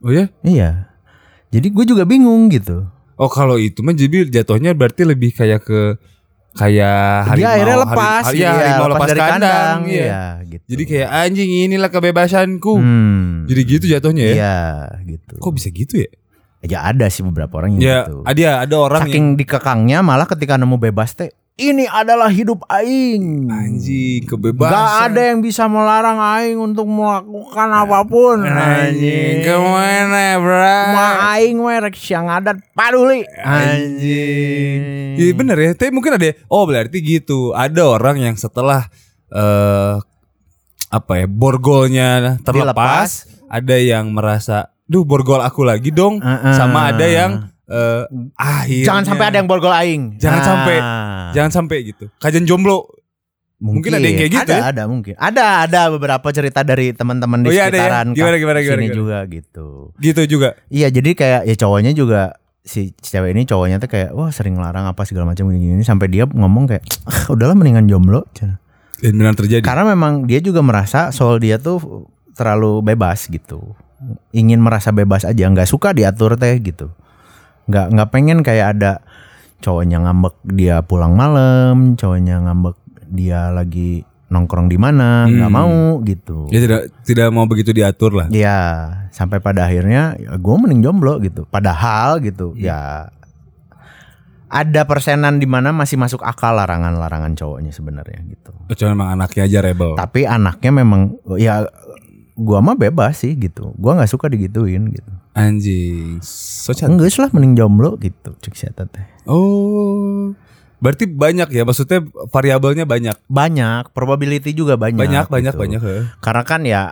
Oh ya?
Iya. Jadi gue juga bingung gitu.
Oh kalau itu mah jadi jatuhnya berarti lebih kayak ke kayak
dia
harimau-
akhirnya
hari-
lepas,
hari- iya, harimau lepas,
dari
kandang, iya.
iya, gitu.
Jadi kayak anjing inilah kebebasanku.
Hmm.
Jadi gitu jatuhnya ya.
Iya, gitu.
Kok bisa gitu ya?
Ya ada sih beberapa orang yang
Ya,
gitu.
ada ada orang
Saking dikekangnya malah ketika nemu bebas teh, ini adalah hidup aing.
yang anjing kebebasan.
Gak ada yang bisa melarang aing untuk melakukan apapun.
Ya, anjing. Kemana, bro?
Ma aing we rek siang adat paduli. Gitu.
Anjing. Iya
Hmm.
bener ya. Tapi mungkin ada. Oh berarti gitu. Ada orang yang setelah eh apa ya borgolnya terlepas, ada yang merasa, duh borgol aku lagi dong.
Heeh.
Sama ada yang eh akhirnya-
Jangan sampai ada yang borgol aing.
Iya. Jangan sampai.
Nah.
jangan sampai gitu. Kajian jomblo. Mungkin ada yang kayak
Ada,
gitu ya?
ada mungkin. Ada, ada beberapa cerita dari teman-teman di
Oh iya, ada ya?
sekitaran
Gimana,
kak-
gimana, gimana,
sini
gimana?
juga gitu.
Gitu juga.
Iya, jadi kayak ya cowoknya juga si cewek ini cowoknya tuh kayak wah sering larang apa segala macam gini gini sampai dia ngomong kayak "Ah, udahlah mendingan jomblo.
Dan Ya, benar terjadi.
Karena memang dia juga merasa soal dia tuh terlalu bebas gitu. Ingin merasa bebas aja, nggak suka diatur teh gitu. Nggak nggak pengen kayak ada cowoknya ngambek dia pulang malam, cowoknya ngambek dia lagi nongkrong di mana, nggak
Hmm.
mau gitu.
Dia tidak tidak mau begitu diatur lah.
Ya, sampai pada akhirnya ya gue mending jomblo gitu. Padahal gitu, ya ada persenan di mana masih masuk akal larangan-larangan cowoknya sebenarnya gitu.
Oh, Cuma emang anaknya aja rebel.
Tapi anaknya memang ya gua mah bebas sih gitu. Gua nggak suka digituin gitu.
Anjing. So cantik.
Enggak lah mending jomblo gitu cek si Eta teh.
Oh. Berarti banyak ya maksudnya variabelnya banyak.
Banyak, probability juga banyak.
Banyak
gitu.
banyak eh. banyak. heeh.
Karena kan ya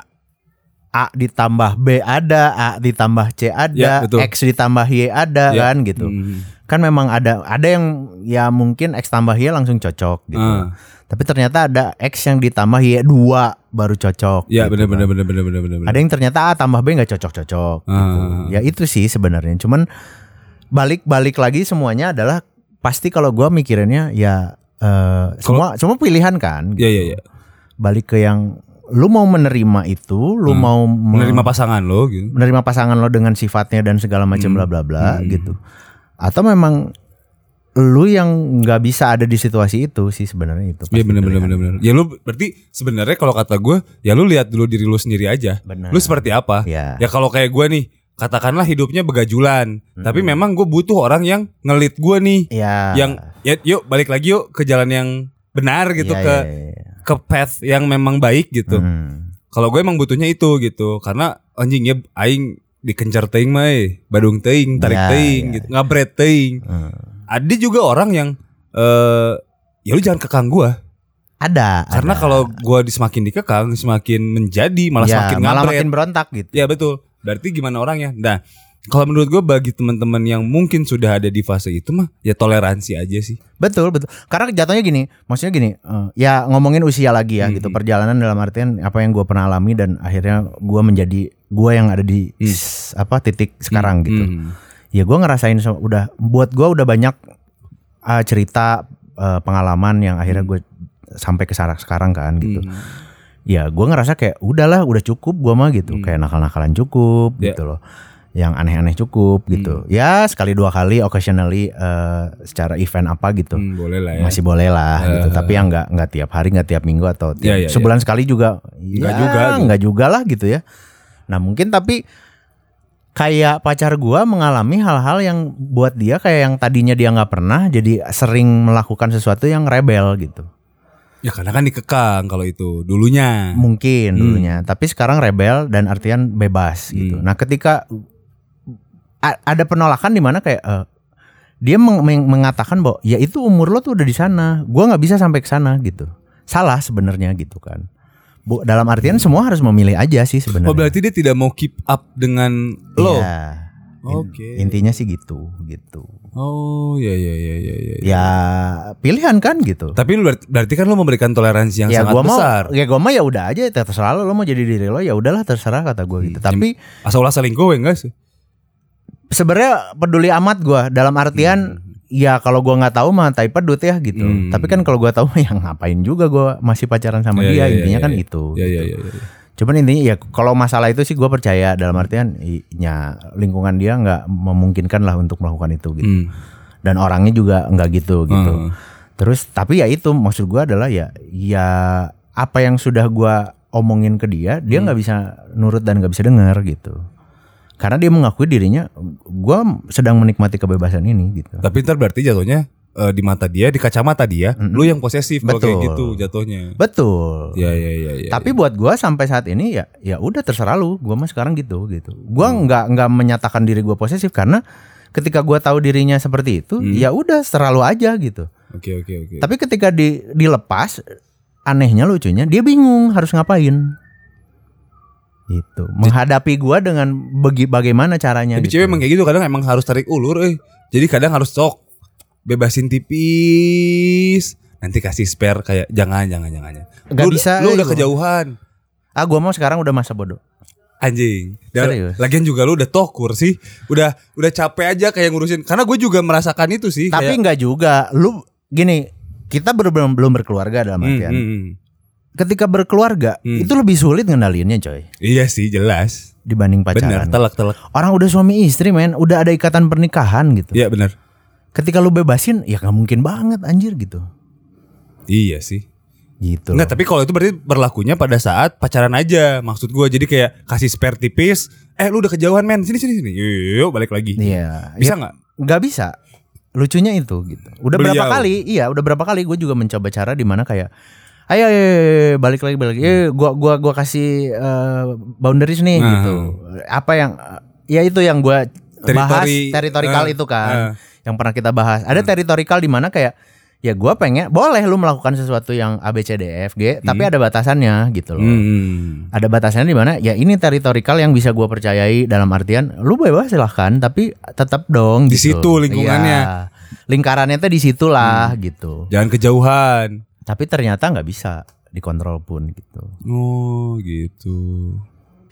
A ditambah B ada, A ditambah C ada,
Ya, betul.
X ditambah Y ada
Ya,
kan gitu.
Hmm.
Kan memang ada ada yang ya mungkin X tambah Y langsung cocok gitu.
Ah.
Tapi ternyata ada X yang ditambah Y dua baru cocok.
Ya
gitu
benar
kan.
benar benar benar benar benar.
Ada yang ternyata A tambah B nggak cocok-cocok gitu.
Ah.
Ya itu sih sebenarnya. Cuman balik-balik lagi semuanya adalah pasti kalau gua mikirinnya ya eh, semua semua pilihan kan.
Ya ya ya.
Balik ke yang lu mau menerima itu, lu
Hmm.
mau me-
Menerima pasangan lo gitu.
menerima pasangan lo dengan sifatnya dan segala macam
Hmm.
bla bla bla
Hmm.
gitu. Atau memang lu yang nggak bisa ada di situasi itu sih sebenarnya itu. pasti
Iya benar benar
pilihan.
benar benar. Ya lu berarti sebenarnya kalau kata gue, ya lu lihat dulu diri lu sendiri aja.
Benar.
Lu seperti apa?
Ya.
Ya kalau kayak gue nih, katakanlah hidupnya begajulan, tapi memang gue butuh orang yang ngelit gue nih.
Ya.
Yang ya yuk balik lagi yuk ke jalan yang benar gitu
Ya,
ke
ya, ya, ya.
ke path yang memang baik gitu.
Hmm.
Kalau gue emang butuhnya itu gitu karena anjingnya aing dikencar teing mah eh. badung teing, tarik
Ya,
teing
ya.
gitu, ngabret teing.
Hmm.
Ada juga orang yang eh ya lu jangan kekang gua
Ada.
karena
ada.
kalau gua di- semakin dikekang semakin menjadi malah
Ya,
semakin
malah
ngabret.
makin berontak gitu.
Ya betul. Berarti gimana orangnya? Nah, Kalau menurut gue bagi teman-teman yang mungkin sudah ada di fase itu mah ya toleransi aja sih.
Betul, betul. Karena jatuhnya gini, maksudnya gini, eh, ya ngomongin usia lagi ya
Hmm.
gitu, perjalanan dalam artian apa yang gua pernah alami dan akhirnya gua menjadi gua yang ada di s- apa titik sekarang gitu.
Hmm.
Ya gua ngerasain sama- udah buat gua udah banyak eh, cerita eh, pengalaman yang akhirnya
Hmm.
gue sampai ke sana sekarang kan gitu. Ya gua ngerasa kayak udahlah, udah cukup gua mah gitu. Kayak nakal-nakalan cukup
Hmm. Ya. Hmm.
gitu loh. Yang aneh-aneh cukup gitu. Ya sekali dua kali occasionally eh, secara event apa gitu
Hmm, boleh lah ya. eh,
masih boleh lah gitu tapi yang nggak nggak tiap hari nggak tiap minggu atau tiap-
Iya, iya,
sebulan sekali juga
Nggak
ya,
juga gitu.
nggak juga lah gitu ya nah mungkin tapi kayak pacar gua mengalami hal-hal yang buat dia kayak yang tadinya dia nggak pernah jadi sering melakukan sesuatu yang rebel gitu
Ya karena kan dikekang kalau itu dulunya.
mungkin
Hmm.
dulunya tapi sekarang rebel dan artian bebas gitu
Hmm.
nah ketika a- ada penolakan di mana kayak eh, dia meng- meng- mengatakan bahwa ya itu umur lo tuh udah di sana gua nggak bisa sampai ke sana gitu salah sebenarnya gitu kan Bu, dalam artian
Hmm.
semua harus memilih aja sih
Oh
sebenarnya
berarti dia tidak mau keep up dengan lo.
Iya. In-
Oke.
intinya sih gitu gitu
Oh ya ya ya ya ya.
ya pilihan kan gitu
Tapi lu berarti, berarti kan lu memberikan toleransi yang
ya
sangat
gua mau
besar.
ya gua mau ya udah aja terserah lo lo mau jadi diri lo ya udahlah terserah kata gua gitu
Iya.
tapi
Asal ulah selingkuh enggak sih?
sebenarnya peduli amat gua dalam artian ya kalau gua nggak tahu mah tai pedut ya gitu
Hmm.
tapi kan kalau gua tahu mah ya ngapain juga gua masih pacaran sama
Ya,
dia
ya, ya,
intinya
ya,
kan
ya.
itu
Ya
gitu.
ya ya. ya.
cuman intinya ya kalau masalah itu sih gua percaya dalam artian i- ya lingkungan dia nggak memungkinkan lah untuk melakukan itu gitu
Hmm.
dan orangnya juga nggak gitu gitu
Hmm.
terus tapi ya itu maksud gua adalah ya ya apa yang sudah gua omongin ke dia dia nggak bisa nurut dan nggak bisa dengar gitu karena dia mengakui dirinya gua sedang menikmati kebebasan ini gitu
Tapi ntar berarti jatuhnya eh, di mata dia, di kacamata dia, lu yang posesif kalau kayak
Betul.
gitu jatuhnya.
betul
Ya ya ya ya.
tapi buat gua sampai saat ini ya ya udah terserah lu gua mah sekarang gitu gitu gua nggak nggak menyatakan diri gua posesif karena ketika gua tahu dirinya seperti itu ya udah selalu aja gitu
Oke oke oke.
Tapi ketika di dilepas, anehnya lucunya dia bingung harus ngapain. Gitu. Menghadapi gua dengan begi, bagaimana caranya
Tapi
gitu.
cewek emang kayak gitu kadang emang harus tarik ulur eh. Jadi kadang harus cok bebasin tipis. Nanti kasih spare kayak jangan jangan jangan. jangan.
Gak
lu,
bisa, eh,
Lu udah
gua.
kejauhan.
Ah, gua mau sekarang udah masa bodoh.
Anjing. Dan
Serius?
lagian juga lu udah tokur sih. Udah udah capek aja kayak ngurusin. Karena gue juga merasakan itu sih.
Tapi
kayak,
nggak juga. Lu gini, kita ber- belum belum berkeluarga dalam
Hmm,
artian.
hmm, hmm.
Ketika berkeluarga,
Hmm.
itu lebih sulit ngendaliinnya, coy,
Iya sih jelas.
dibanding
Bener,
pacaran.
telak telak.
Orang udah suami istri, men, udah ada ikatan pernikahan gitu.
Iya bener.
Ketika lu bebasin, ya nggak mungkin banget anjir gitu.
Iya sih.
Gitu.
Enggak, tapi kalau itu berarti berlakunya pada saat pacaran aja. Maksud gua jadi kayak kasih spare tipis. Eh lu udah kejauhan men. Sini sini sini. Yuk, yuk, balik lagi.
Iya.
Bisa nggak?
nggak bisa lucunya itu gitu udah
Beliau.
berapa kali iya udah berapa kali gue juga mencoba cara di mana kayak ayo, ayo, ayo, ayo, balik lagi balik lagi Eh, gua gua gua kasih eh, boundaries nih
Nah.
gitu apa yang ya itu yang gua bahas
Teritori-
teritorial
eh,
itu kan
eh. Hmm.
yang pernah kita bahas ada teritorial di mana kayak ya gua pengen boleh lu melakukan sesuatu yang A B C D E F G tapi ada batasannya gitu loh
Hmm.
ada batasannya di mana ya ini teritorial yang bisa gua percayai dalam artian lu bebas silahkan tapi tetap dong
Di
gitu.
situ lingkungannya. Hmm.
Iya. lingkarannya tuh di situlah gitu
Jangan kejauhan.
tapi ternyata nggak bisa dikontrol pun gitu
Oh, gitu.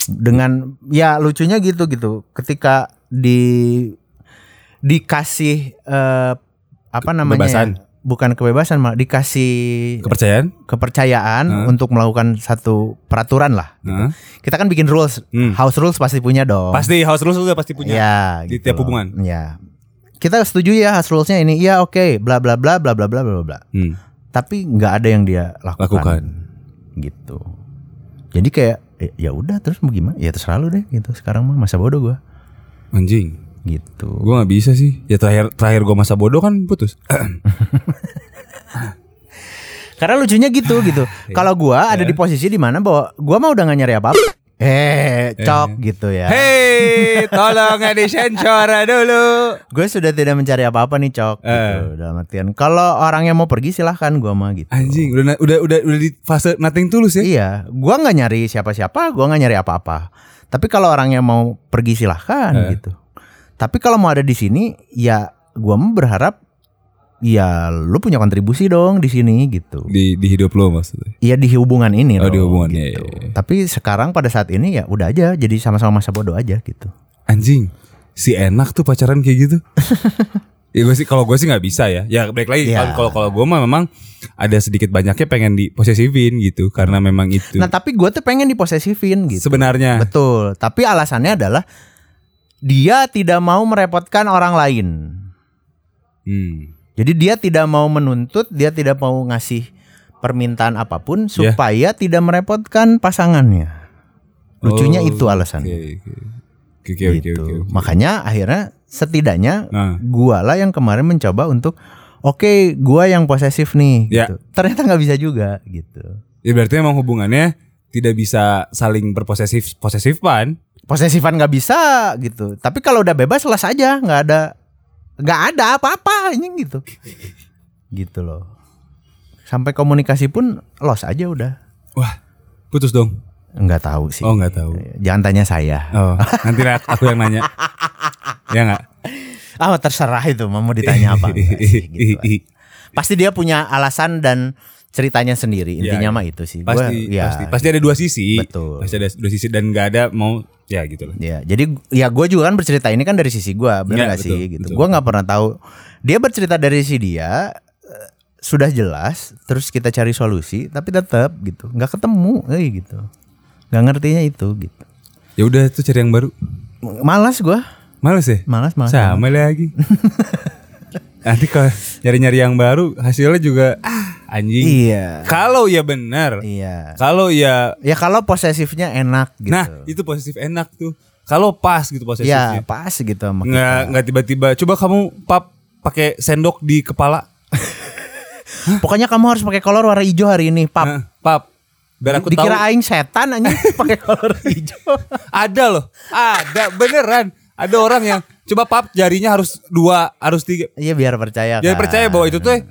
dengan ya lucunya gitu gitu ketika di dikasih eh, apa namanya ya?
Kebebasan.
bukan kebebasan malah
Iya.
dikasih
Kepercayaan?
kepercayaan untuk melakukan satu peraturan lah gitu.
Hah?
kita kan bikin rules
Hmm.
house rules pasti punya dong
Pasti house rules udah pasti punya.
ya,
di tiap
loh.
hubungan.
ya kita setuju ya house rulesnya ini ya oke bla bla bla bla bla bla bla bla
Hmm.
tapi nggak ada yang dia lakukan,
Lakukan.
gitu jadi kayak eh, ya udah terus mau gimana ya terserah lu deh gitu sekarang mah masa bodoh gua
Anjing.
gitu
Gua nggak bisa sih. Ya terakhir terakhir gua masa bodoh kan putus.
karena lucunya gitu gitu
Iya.
kalau gua ada di posisi di mana bahwa gua mah udah nggak nyari apa apa eh cok gitu ya
Hei, tolong di sensor dulu.
gue sudah tidak mencari apa apa nih cok gitu dalam artian kalau orangnya mau pergi silahkan gua mah gitu
Eh. Anjing, udah na- udah udah udah di fase nothing tulus ya.
Iya, gua nggak
Eh.
nyari siapa-siapa, gua nggak nyari apa-apa. Tapi kalau orangnya mau pergi silahkan gitu. Tapi kalau mau ada di sini ya gua mah berharap ya lu punya kontribusi dong di sini gitu.
di di hidup lo maksudnya.
Iya di hubungan ini
Oh,
dong,
di hubungan, iya,
gitu.
iya, iya.
Tapi sekarang pada saat ini ya udah aja jadi sama-sama masa bodoh aja gitu.
Anjing, si enak tuh pacaran kayak gitu. ya gue sih kalau gue sih nggak bisa ya. Ya balik lagi
Iya.
kalau kalau gue mah memang ada sedikit banyaknya pengen diposesifin gitu karena memang itu.
Nah, tapi gua tuh pengen diposesifin gitu.
Sebenarnya
Betul, tapi alasannya adalah dia tidak mau merepotkan orang lain.
Hmm.
Jadi dia tidak mau menuntut, dia tidak mau ngasih permintaan apapun
Iya.
supaya tidak merepotkan pasangannya. Lucunya
Oh,
itu alasannya.
Oke, oke. Oke, oke, oke,
gitu.
oke, oke.
Makanya akhirnya setidaknya
Nah.
gua lah yang kemarin mencoba untuk oke, gua yang posesif nih
Ya.
gitu. Ternyata nggak bisa juga gitu.
Ya berarti emang hubungannya tidak bisa saling berposesif posesifan.
Posesifan nggak bisa gitu. Tapi kalau udah bebas les aja, nggak ada nggak ada apa-apa ini gitu. gitu loh. Sampai komunikasi pun los aja udah.
Wah, putus dong.
Nggak tahu sih.
Oh, nggak tahu.
Jangan tanya saya.
Oh, nanti lah aku yang nanya. ya nggak?
Ah terserah itu mau ditanya apa. Enggak sih, gitu lah. Pasti dia punya alasan dan ceritanya sendiri.
Ya,
Intinya
ya.
mah itu sih. Gua-
pasti,
ya,
pasti, pasti ada dua sisi.
Betul.
Pasti ada dua sisi dan nggak ada mau ya gitu lah.
Ya, jadi ya gue juga kan bercerita ini kan dari sisi gue,
Ya,
benar nggak
betul,
sih? Gitu.
betul.
Gue nggak pernah tahu. Dia bercerita dari sisi dia eh, sudah jelas, terus kita cari solusi, tapi tetap gitu, nggak ketemu, eh gitu, nggak ngertinya itu gitu.
Ya udah tuh cari yang baru.
Malas gue,
Males ya?
malas malas.
Sama lagi. nanti kalau nyari-nyari yang baru hasilnya juga ah anjing.
Iya,
Kalau ya benar.
iya.
Kalau ya
Ya kalau posesifnya enak gitu.
Nah, itu positif enak tuh. Kalau pas
ya
gitu posesifnya.
pas gitu sama kita.
Nggak nggak tiba-tiba coba kamu pap pakai sendok di kepala.
Pokoknya kamu harus pakai kolor warna hijau hari ini, pap.
Nah, pap. Biar aku
Dikira
tahu.
aing setan anjing pakai kolor hijau.
Ada loh. Ada beneran. Ada orang yang coba pap jarinya harus dua, harus tiga.
Iya biar percaya.
Dia
kan.
percaya bahwa itu tuh eh,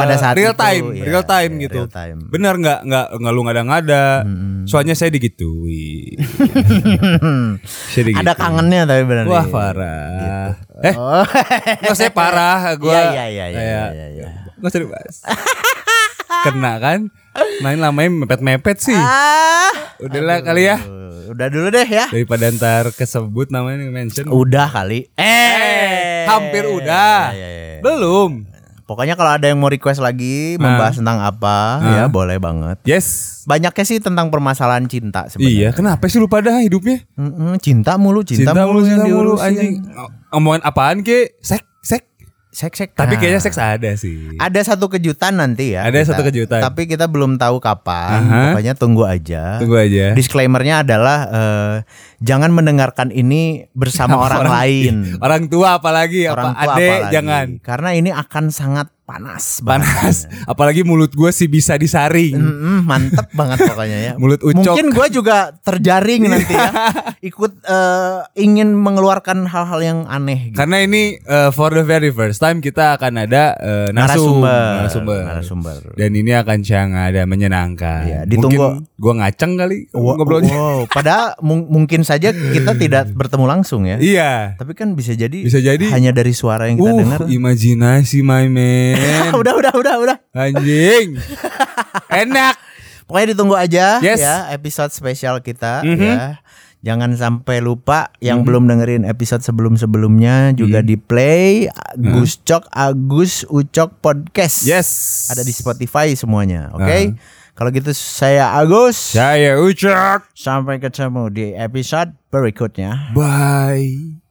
Pada saat
real
itu,
time,
iya,
real time
iya,
gitu.
real time.
Bener nggak nggak nggak lu ngada-ngada. Soalnya saya digituin. Saya
ada
digituin.
kangennya tapi benar.
gitu. Wah
nih.
parah. Eh,
Oh.
Nggak ya, saya parah gue.
Iya, iya, iya, iya, iya, iya.
Nggak usah dibahas. Kena kan? Main lamanya mepet-mepet sih.
Ah.
Udahlah kali ya.
Aduh, Udah dulu deh ya.
Daripada ntar kesebut namanya mention.
Udah kali. Eh,
hampir udah.
Iya, iya, iya.
Belum.
Pokoknya kalau ada yang mau request lagi
Ah.
membahas tentang apa ya boleh banget.
Yes.
Banyaknya sih tentang permasalahan cinta
Iya,
sebenarnya.
kenapa sih lu pada hidupnya?
Mm-mm, Cinta mulu, cinta,
Cinta mulu,
yang
cinta mulu,
diurusin.
anjing. Omongan apaan ke? Sek, sek.
Sek sek. Nah,
Tapi kayaknya seks ada sih.
ada satu kejutan nanti ya.
Iya. Ada satu kejutan.
Tapi kita belum tahu kapan.
Aha.
Pokoknya tunggu aja.
Tunggu ya. aja.
Disclaimernya adalah eh, jangan mendengarkan ini bersama orang lain.
Orang tua apalagi,
Orang tua
apa adek,
apalagi.
Iya, jangan.
Karena ini akan sangat panas. banget.
Panas.
Iya.
Apalagi mulut gue sih bisa disaring.
Mm-mm, mantep banget pokoknya ya.
Mulut ucok. Iya.
Mungkin gue juga terjaring nanti ya. Ikut eh, ingin mengeluarkan hal-hal yang aneh. Gitu.
Karena ini uh, for the very first time kita akan ada uh, narasum-
Narasumber.
narasumber.
Narasumber.
Dan ini akan siang ada menyenangkan.
Iya, ditunggu.
Mungkin gua ngaceng kali
Wa-
ngobrolnya.
wow, Padahal mung- mungkin saja kita tidak bertemu langsung ya.
iya.
Tapi kan bisa jadi,
Bisa jadi.
hanya dari suara yang kita
Uh,
dengar.
imajinasi my man.
udah, udah, udah, udah.
Anjing. Enak.
Pokoknya ditunggu aja
Yes.
ya episode spesial kita
Mhm.
ya. Jangan sampai lupa yang belum dengerin episode sebelum-sebelumnya juga
Iya.
di play Agus Cok Agus Ucok Podcast.
Mhm. Yes.
Ada di Spotify semuanya, oke? Kalau gitu saya Agus.
Ya. Saya Ucok.
Sampai ketemu di episode berikutnya.
Bye.